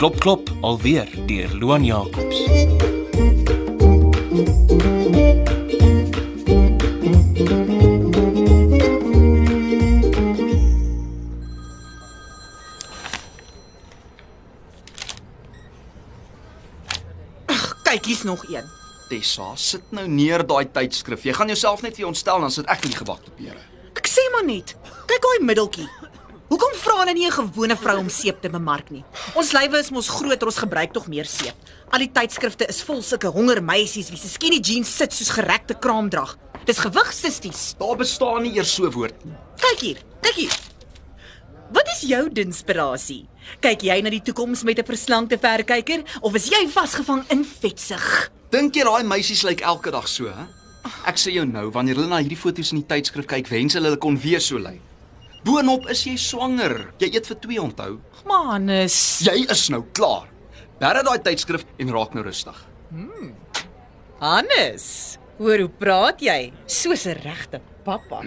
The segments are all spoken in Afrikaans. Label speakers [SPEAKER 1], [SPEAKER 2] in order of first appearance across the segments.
[SPEAKER 1] Klop klop alweer deur Loan Jacobs.
[SPEAKER 2] Kyk, hier's nog een.
[SPEAKER 3] Tessa, sit nou neer daai tydskrif. Jy gaan jouself net weer ontstel dan sit ek in die gebakte pere.
[SPEAKER 2] Ek sê maar net, kyk daai middeltjie. Hoekom vra hulle nie 'n gewone vrou om seep te bemark nie? Ons lywe is mos groter, ons gebruik tog meer seep. Al die tydskrifte is vol sulke honger meisies wie se skinny jeans sit soos gerekte kraamdrag. Dis gewigsisties.
[SPEAKER 3] Daar bestaan nie eers so 'n woord nie.
[SPEAKER 2] Kyk hier, kyk hier. Wat is jou inspirasie? Kyk jy na die toekoms met 'n verslankte verkyker of is jy vasgevang in vetsig?
[SPEAKER 3] Dink jy daai meisies lyk elke dag so, hè? Ek sê jou nou, wanneer hulle na hierdie foto's in die tydskrif kyk, wens hulle hulle kon weer so lyk. Boonop is jy swanger. Jy eet vir 2 onthou.
[SPEAKER 2] Manus.
[SPEAKER 3] Jy is nou klaar. Berre daai tydskrif en raak nou rustig.
[SPEAKER 2] Hannes, hoor hoe praat jy? Soos 'n regte pappa.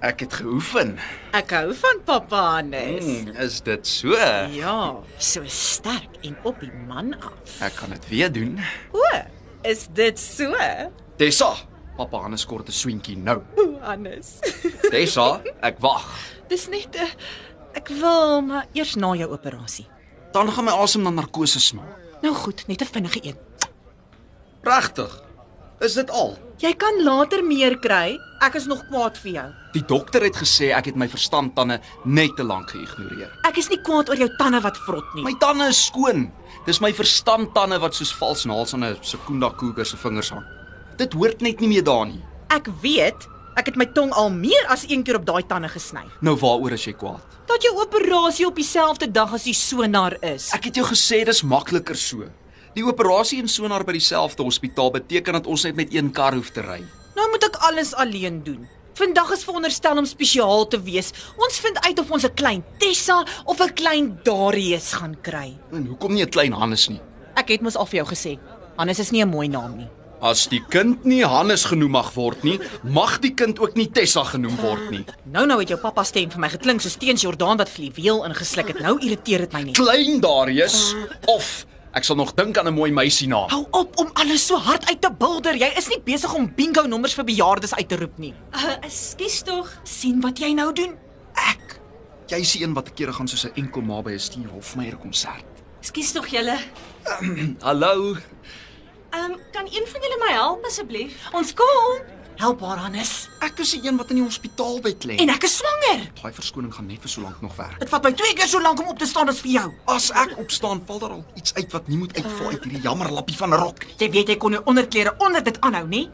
[SPEAKER 3] Ek het geoefen.
[SPEAKER 2] Ek hou van pappa Hannes.
[SPEAKER 3] Hmm, is dit so?
[SPEAKER 2] Ja, so sterk en op die man af.
[SPEAKER 3] Ek kan dit weer doen.
[SPEAKER 2] O, is dit so?
[SPEAKER 3] Tessa, pappa Hannes kort 'n swentjie nou.
[SPEAKER 2] O, Hannes.
[SPEAKER 3] Tessa, ek wag.
[SPEAKER 2] Dis net 'n ek wil maar eers na jou operasie.
[SPEAKER 3] Dan gaan my asem na narkose smaak.
[SPEAKER 2] Nou goed, net 'n vinnige een.
[SPEAKER 3] Regtig? Is dit al?
[SPEAKER 2] Jy kan later meer kry. Ek is nog kwaad vir jou.
[SPEAKER 3] Die dokter het gesê ek het my verstandtande net te lank geïgnoreer.
[SPEAKER 2] Ek is nie kwaad oor jou tande wat vrot nie.
[SPEAKER 3] My tande is skoon. Dis my verstandtande wat soos vals naels aan 'n sekunda koeker se vingers hang. Dit hoort net nie meer daar nie.
[SPEAKER 2] Ek weet, ek het my tong al meer as een keer op daai tande gesny.
[SPEAKER 3] Nou waaroor is jy kwaad?
[SPEAKER 2] Dat jou operasie op dieselfde dag as die sonar is.
[SPEAKER 3] Ek het jou gesê dis makliker so. Die operasie en sonar by dieselfde hospitaal beteken dat ons net met een kar hoef te ry.
[SPEAKER 2] Nou moet ek alles alleen doen. Vandag is veronderstel om spesiaal te wees. Ons vind uit of ons 'n klein Tessa of 'n klein Darius gaan kry.
[SPEAKER 3] En hoekom nie 'n klein Hannes nie?
[SPEAKER 2] Ek het mos al vir jou gesê, Hannes is nie 'n mooi naam nie.
[SPEAKER 3] As die kind nie Hannes genoem mag word nie, mag die kind ook nie Tessa genoem word nie.
[SPEAKER 2] Nou nou het jou pappa stem vir my geklink soos teens Jordaan wat fluweel ingesluk het. Nou irriteer dit my net.
[SPEAKER 3] Klein Darius of ek sal nog dink aan 'n mooi meisie naam.
[SPEAKER 2] Hou op om alles so hard uit te bulder. Jy is nie besig om bingo nommers vir bejaardes uit te roep nie.
[SPEAKER 4] Eh,
[SPEAKER 2] Uh, Ekskuus tog. sien wat jy nou doen?
[SPEAKER 3] Ek. Jy is die een wat 'n keer gaan soos 'n enkel ma by 'n Steve Hofmeyer konsert.
[SPEAKER 4] Ekskuus tog julle.
[SPEAKER 3] Hallo.
[SPEAKER 4] Ehm um, kan een van julle my help asseblief?
[SPEAKER 2] Ons kom. Help haar Hannes.
[SPEAKER 3] Ek is die een wat in die hospitaalbed lê.
[SPEAKER 2] En ek is swanger.
[SPEAKER 3] daai verskoning gaan net vir so lank nog werk.
[SPEAKER 2] Dit vat my 2 keer so lank om op te staan as vir jou.
[SPEAKER 3] As ek opstaan, val daar al iets uit wat nie moet uitval uit hierdie jammerlappie van 'n rok nie.
[SPEAKER 2] Jy weet jy kon jou onderklere onder dit aanhou, nê?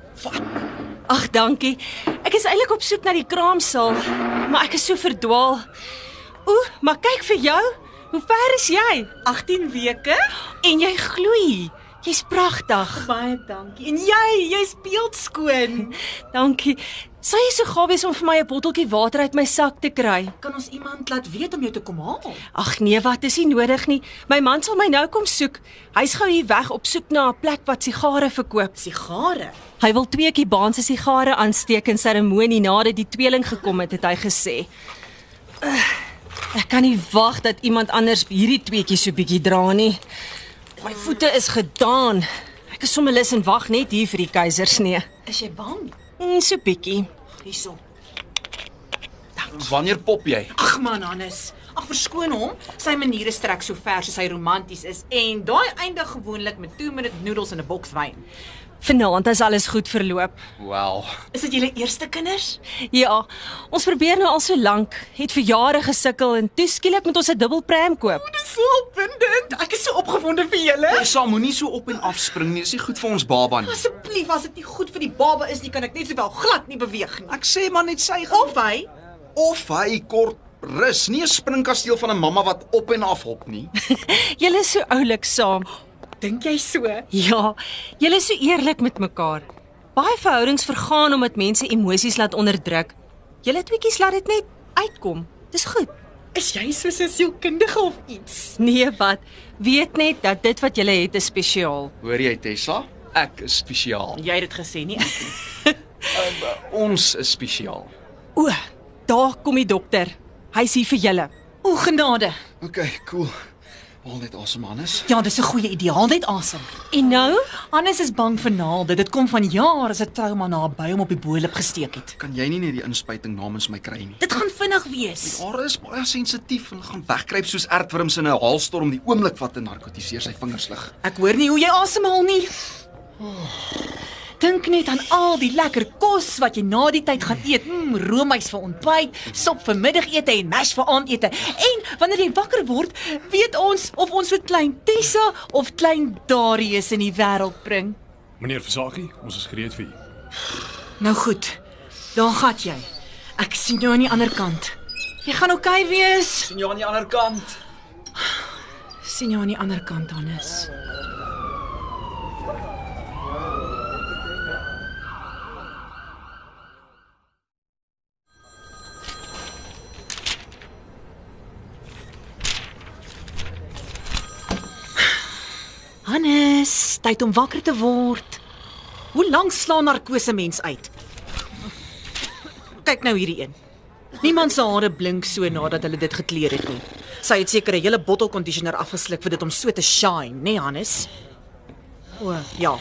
[SPEAKER 4] Ag, dankie. Ek is eintlik op soek na die kraamsaal, maar ek is so verdwaal. Oeh, maar kyk vir jou. Hoe ver is jy?
[SPEAKER 2] 18 weke?
[SPEAKER 4] En jy gloei. Jy's pragtig.
[SPEAKER 2] Baie dankie.
[SPEAKER 4] En jy, jy speel skoon. dankie. Sou jy so gaaf wees om vir my 'n botteltjie water uit my sak te kry?
[SPEAKER 2] Kan ons iemand laat weet om jou te kom haal?
[SPEAKER 4] Ag nee, wat is nie nodig nie. My man sal my nou kom soek. Hy's gou hier weg op soek na 'n plek wat sigare verkoop.
[SPEAKER 2] Sigare.
[SPEAKER 4] Hy wil twee Kubaanse sigare aansteek in seremonie nadat die tweeling gekom het, het hy gesê. Ugh, Ek kan nie wag dat iemand anders hierdie tweetjies so bietjie dra nie. My voete is gedaan. Ek is sommer lus en wag net hier vir die keisersnee.
[SPEAKER 2] Is jy bang?
[SPEAKER 4] Mm, so bietjie.
[SPEAKER 2] Hierso.
[SPEAKER 3] Wanneer pop jy?
[SPEAKER 2] Ag man Hannes. Ag verskoon hom. Sy maniere strek so ver soos hy romanties is en daai eindig gewoonlik met 2 minute noedels en 'n boks wyn.
[SPEAKER 4] Vanaand as alles goed verloop.
[SPEAKER 3] Wel,
[SPEAKER 2] Is dit julle eerste kinders?
[SPEAKER 4] Ja, ons probeer nou al so lank, het vir jare gesukkel en toe skielik moet ons 'n dubbelpram koop.
[SPEAKER 2] Dis so opwindend. Ek is so opgewonde vir julle.
[SPEAKER 3] Tessa moenie so op en af spring nie. Dis nie goed vir ons baba nie.
[SPEAKER 2] Asseblief, as dit nie goed vir die baba is nie, kan ek net sowel glad nie beweeg nie.
[SPEAKER 3] Ek sê maar net sy gaan
[SPEAKER 2] Of hy
[SPEAKER 3] of hy kort rus, nie 'n springkasteel van 'n mamma wat op en af hop nie.
[SPEAKER 4] Julle is so oulik saam.
[SPEAKER 2] Dink jy so?
[SPEAKER 4] Ja, julle is so eerlik met mekaar. Baie verhoudings vergaan omdat mense emosies laat onderdruk. Julle tweetjies laat dit net uitkom. Dis goed.
[SPEAKER 2] Is jy soos 'n sielkundige of iets?
[SPEAKER 4] Nee, wat? Weet net dat dit wat julle het is spesiaal.
[SPEAKER 3] Hoor jy Tessa? Ek is spesiaal.
[SPEAKER 2] Jy het dit gesê nie.
[SPEAKER 3] Ons is spesiaal.
[SPEAKER 4] O, daar kom die dokter. Hy's hier vir julle.
[SPEAKER 2] O genade.
[SPEAKER 3] OK, cool. Haal net asem, Hannes.
[SPEAKER 2] Ja, dis 'n goeie idee. Haal net asem.
[SPEAKER 4] En nou?
[SPEAKER 2] Hannes is bang vir naalde. Dit kom van jare se trauma na by hom op die boelop gesteek het.
[SPEAKER 3] Kan jy nie net die inspuiting namens my kry nie?
[SPEAKER 2] Dit gaan vinnig wees.
[SPEAKER 3] Haar is baie sensitief en gaan wegkruip soos aardwurms in 'n haalstorm die oomblik wat 'n narkotiseer sy vingers lig.
[SPEAKER 2] Ek hoor nie hoe jy asemhaal nie. Dink net aan al die lekker kos wat jy na die tyd gaan eet. Mm, roomys vir ontbyt, sop vir middagete en mash vir aandete. En wanneer jy wakker word, weet ons of ons so klein Tessa of klein Darius in die wêreld bring.
[SPEAKER 5] Meneer Versaakie, ons is gereed vir u.
[SPEAKER 2] Nou goed. Daar gaan jy. Ek sien jou aan die ander kant. Jy gaan oukei okay wees.
[SPEAKER 3] Sien jou aan die ander kant.
[SPEAKER 2] Sien jou aan die ander kant, Hannes. Hannes, tyd om wakker te word. Hoe lank slaan narkose mens uit? Kyk nou hierdie een. Niemand se hare blink so nadat hulle dit gekleer het nie. Sy het seker 'n hele bottel conditioner afgesluk vir dit om so te shine, né, nee, Hannes? O, ja.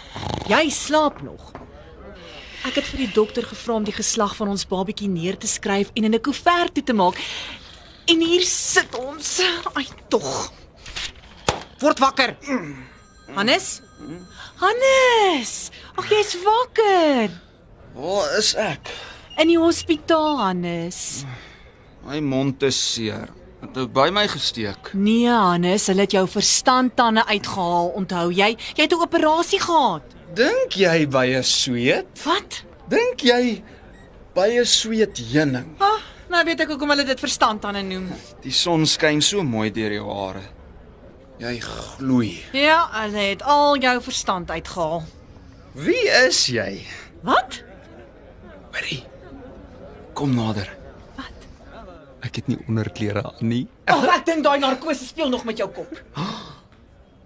[SPEAKER 2] Jy slaap nog. Ek het vir die dokter gevra om die geslag van ons babatjie neer te skryf en in 'n koevert toe te maak. En hier sit ons. Ai tog. Word wakker. Hannes? Hannes, ag jy's wakker.
[SPEAKER 3] Waar is ek?
[SPEAKER 2] In die hospitaal, Hannes.
[SPEAKER 3] My mond is seer. Het het by my gesteek.
[SPEAKER 2] Nee, Hannes, hulle het jou verstandtande uitgehaal, onthou jy? Jy het 'n operasie gehad.
[SPEAKER 3] Dink jy by 'n sweet?
[SPEAKER 2] Wat?
[SPEAKER 3] Dink jy by 'n sweet heuning?
[SPEAKER 2] Ah, nou weet ek hoekom hulle dit verstandtande noem.
[SPEAKER 3] Die son skyn so mooi deur jou hare. Jy gloei.
[SPEAKER 2] Ja, hulle het al jou verstand uitgehaal.
[SPEAKER 3] Wie is jy?
[SPEAKER 2] Wat?
[SPEAKER 3] Hoorie. Kom nader.
[SPEAKER 2] Wat?
[SPEAKER 3] Ek het nie onderklere aan nie.
[SPEAKER 2] Ag, ek dink daai narkose speel nog met jou kop.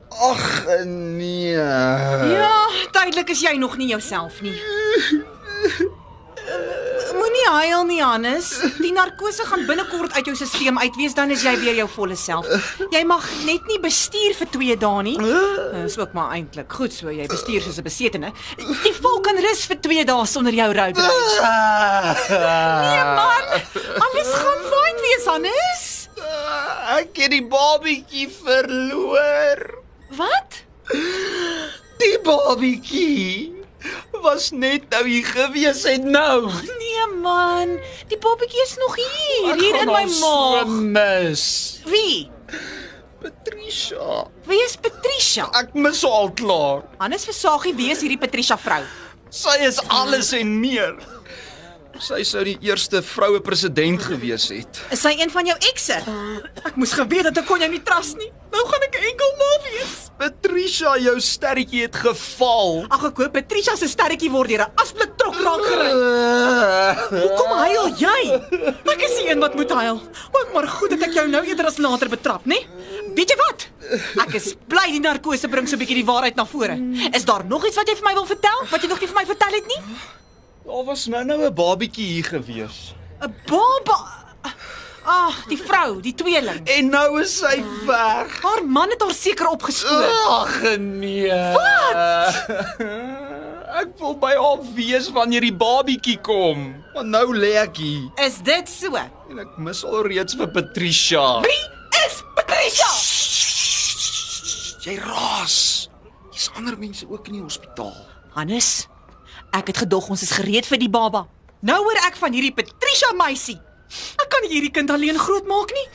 [SPEAKER 3] Ag nee.
[SPEAKER 2] Ja, tydelik is jy nog nie jouself nie. Moenie huil nie, Hannes. Die narkose gaan binnekort uit jou stelsel uitwees, dan is jy weer jou volle self. Jy mag net nie bestuur vir 2 dae nie. Dis ook maar eintlik goed so jy bestuur soos 'n besetene. Die volk kan rus vir 2 dae sonder jou road rage. Nee man, alles gaan fyn wees, Hannes.
[SPEAKER 3] Ek het die babietjie verloor.
[SPEAKER 2] Wat?
[SPEAKER 3] Die babietjie was net nou hier gewees en nou
[SPEAKER 2] Nee man, die poppetjie is nog hier,
[SPEAKER 3] Ek
[SPEAKER 2] hier
[SPEAKER 3] gaan
[SPEAKER 2] in my
[SPEAKER 3] haar
[SPEAKER 2] maag.
[SPEAKER 3] so Mis.
[SPEAKER 2] Wie?
[SPEAKER 3] Patricia,
[SPEAKER 2] Wie is Patricia?
[SPEAKER 3] ek mis haar al klaar.
[SPEAKER 2] Hannes Versaagie, wie is hierdie Patricia vrou?
[SPEAKER 3] Sy is alles en meer. Sy sou die eerste vroue president gewees het.
[SPEAKER 2] Is sy een van jou ekse? Ek moes geweet dat ek kon jou nie trust nie. Nou gaan ek 'n enkel ma wees.
[SPEAKER 3] Patricia, jou sterretjie het geval.
[SPEAKER 2] Ag ek hoop Patricia se sterretjie word deur 'n asblik trok raak gery. Hoekom huil jy? Ek is die een wat moet huil. Ook maar goed dat ek jou nou eerder as later betrap, né? Weet jy wat? Ek is bly die narkose bring so 'n bietjie die waarheid na vore. Is daar nog iets wat jy vir my wil vertel wat jy nog nie vir my vertel het nie?
[SPEAKER 3] Daar was nou nou 'n babietjie hier gewees.
[SPEAKER 2] 'n Baba. Ag, die vrou, die tweeling.
[SPEAKER 3] En nou is sy weg.
[SPEAKER 2] Haar man het haar seker opgeskoor.
[SPEAKER 3] Ag nee. Wat? Ek wil by haar wees wanneer die babietjie kom. Want nou lê ek hier
[SPEAKER 2] Is dit so? Wie
[SPEAKER 3] en ek mis alreeds vir Patricia.
[SPEAKER 2] is Patricia?
[SPEAKER 3] Sst, Jy raas. Hier's ander mense ook in die hospitaal.
[SPEAKER 2] Hannes, ek het gedog ons is gereed vir die baba. Nou hoor ek van hierdie Patricia meisie. Ek kan nie hierdie kind alleen grootmaak nie.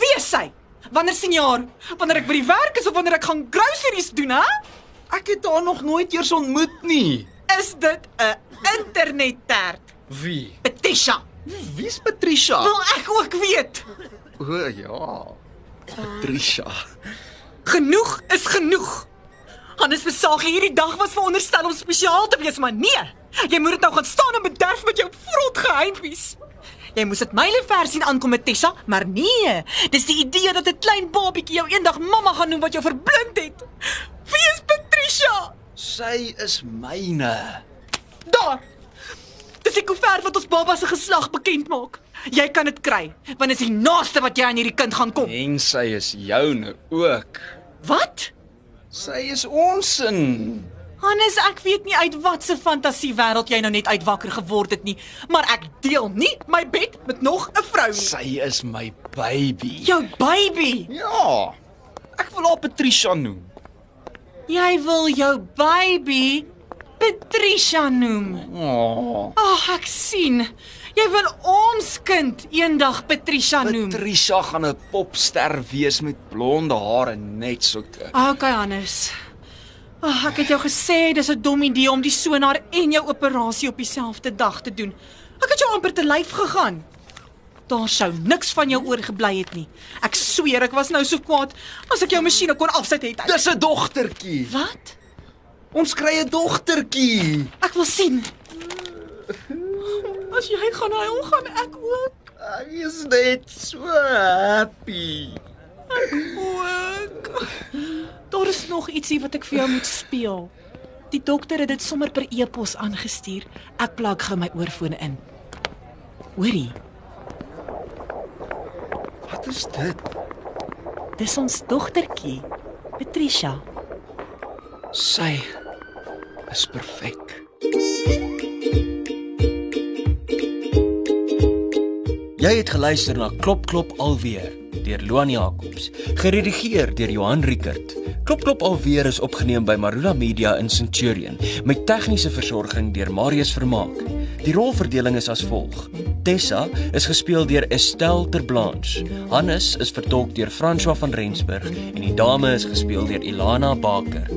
[SPEAKER 2] Wie is sy? Wanneer sien jy haar? Wanneer ek by die werk is of wanneer ek gaan groceries doen, hè?
[SPEAKER 3] Ek het haar nog nooit eers ontmoet nie.
[SPEAKER 2] Is dit 'n internettert?
[SPEAKER 3] Wie?
[SPEAKER 2] Patricia,
[SPEAKER 3] Wie's Patricia?
[SPEAKER 2] wil ek ook weet.
[SPEAKER 3] O ja. Patricia.
[SPEAKER 2] Genoeg is genoeg. Hannes Besage, hierdie dag was veronderstel om spesiaal te wees, maar nee. Jy moet dit nou gaan staan en bederf met jou vrot geheimpies. Jy moes dit myle vers sien aankom met Tessa, maar nee. Dis die idee dat 'n klein babietjie jou eendag mamma gaan noem wat jou verblind het. Wie is Patricia?
[SPEAKER 3] Sy is myne.
[SPEAKER 2] Daar. Dis Dis die koevert wat ons baba se geslag bekend maak. Jy kan dit kry, want dis die naaste wat jy aan hierdie kind gaan kom.
[SPEAKER 3] En sy is joune ook.
[SPEAKER 2] Wat?
[SPEAKER 3] Sy is ons in.
[SPEAKER 2] Hannes, ek weet nie uit watse fantasiewêreld jy nou net uitwakker geword het nie, maar ek deel nie my bed met nog 'n vrou nie.
[SPEAKER 3] Sy is my baby.
[SPEAKER 2] Jou baby.
[SPEAKER 3] Ja. Ek wil haar Patricia noem.
[SPEAKER 2] Jy wil jou baby Patricia noem.
[SPEAKER 3] Oh,
[SPEAKER 2] Ag, ek sien. Jy wil ons kind eendag Patricia noem.
[SPEAKER 3] Patricia gaan 'n popster wees met blonde hare net so dik.
[SPEAKER 2] Okay, Hannes. Ag, ek het jou gesê dis 'n dom idee om die sonaar en jou operasie op dieselfde dag te doen. Ek het jou amper te lyf gegaan. Daar sou niks van jou oorgebly het nie. Ek sweer ek was nou so kwaad as ek jou masjiene kon afsit het. Ek...
[SPEAKER 3] Dis 'n dogtertjie.
[SPEAKER 2] Wat?
[SPEAKER 3] Ons kry 'n dogtertjie.
[SPEAKER 2] Ek wil sien. As jy gaan huil, gaan ek ook.
[SPEAKER 3] Ek is net so happy.
[SPEAKER 2] ook. Daar is nog ietsie wat ek vir jou moet speel. Die dokter het dit sommer per e-pos aangestuur. Ek plak gou my oorfone in. Hoorie,
[SPEAKER 3] Wat is dit?
[SPEAKER 2] dis ons dogtertjie, Patricia.
[SPEAKER 3] Sy is perfek.
[SPEAKER 1] Jy het geluister na Klop klop alweer deur Loan Jacobs, geredigeer deur Johan Rickert. Klop klop alweer is opgeneem by Marula Media in Centurion met tegniese versorging deur Marius Vermaak. Die rolverdeling is as volg: Tessa is gespeel deur Estelle Terblanche, Hannes is vertolk deur François van Rensburg en die dame is gespeel deur Ilana Baker.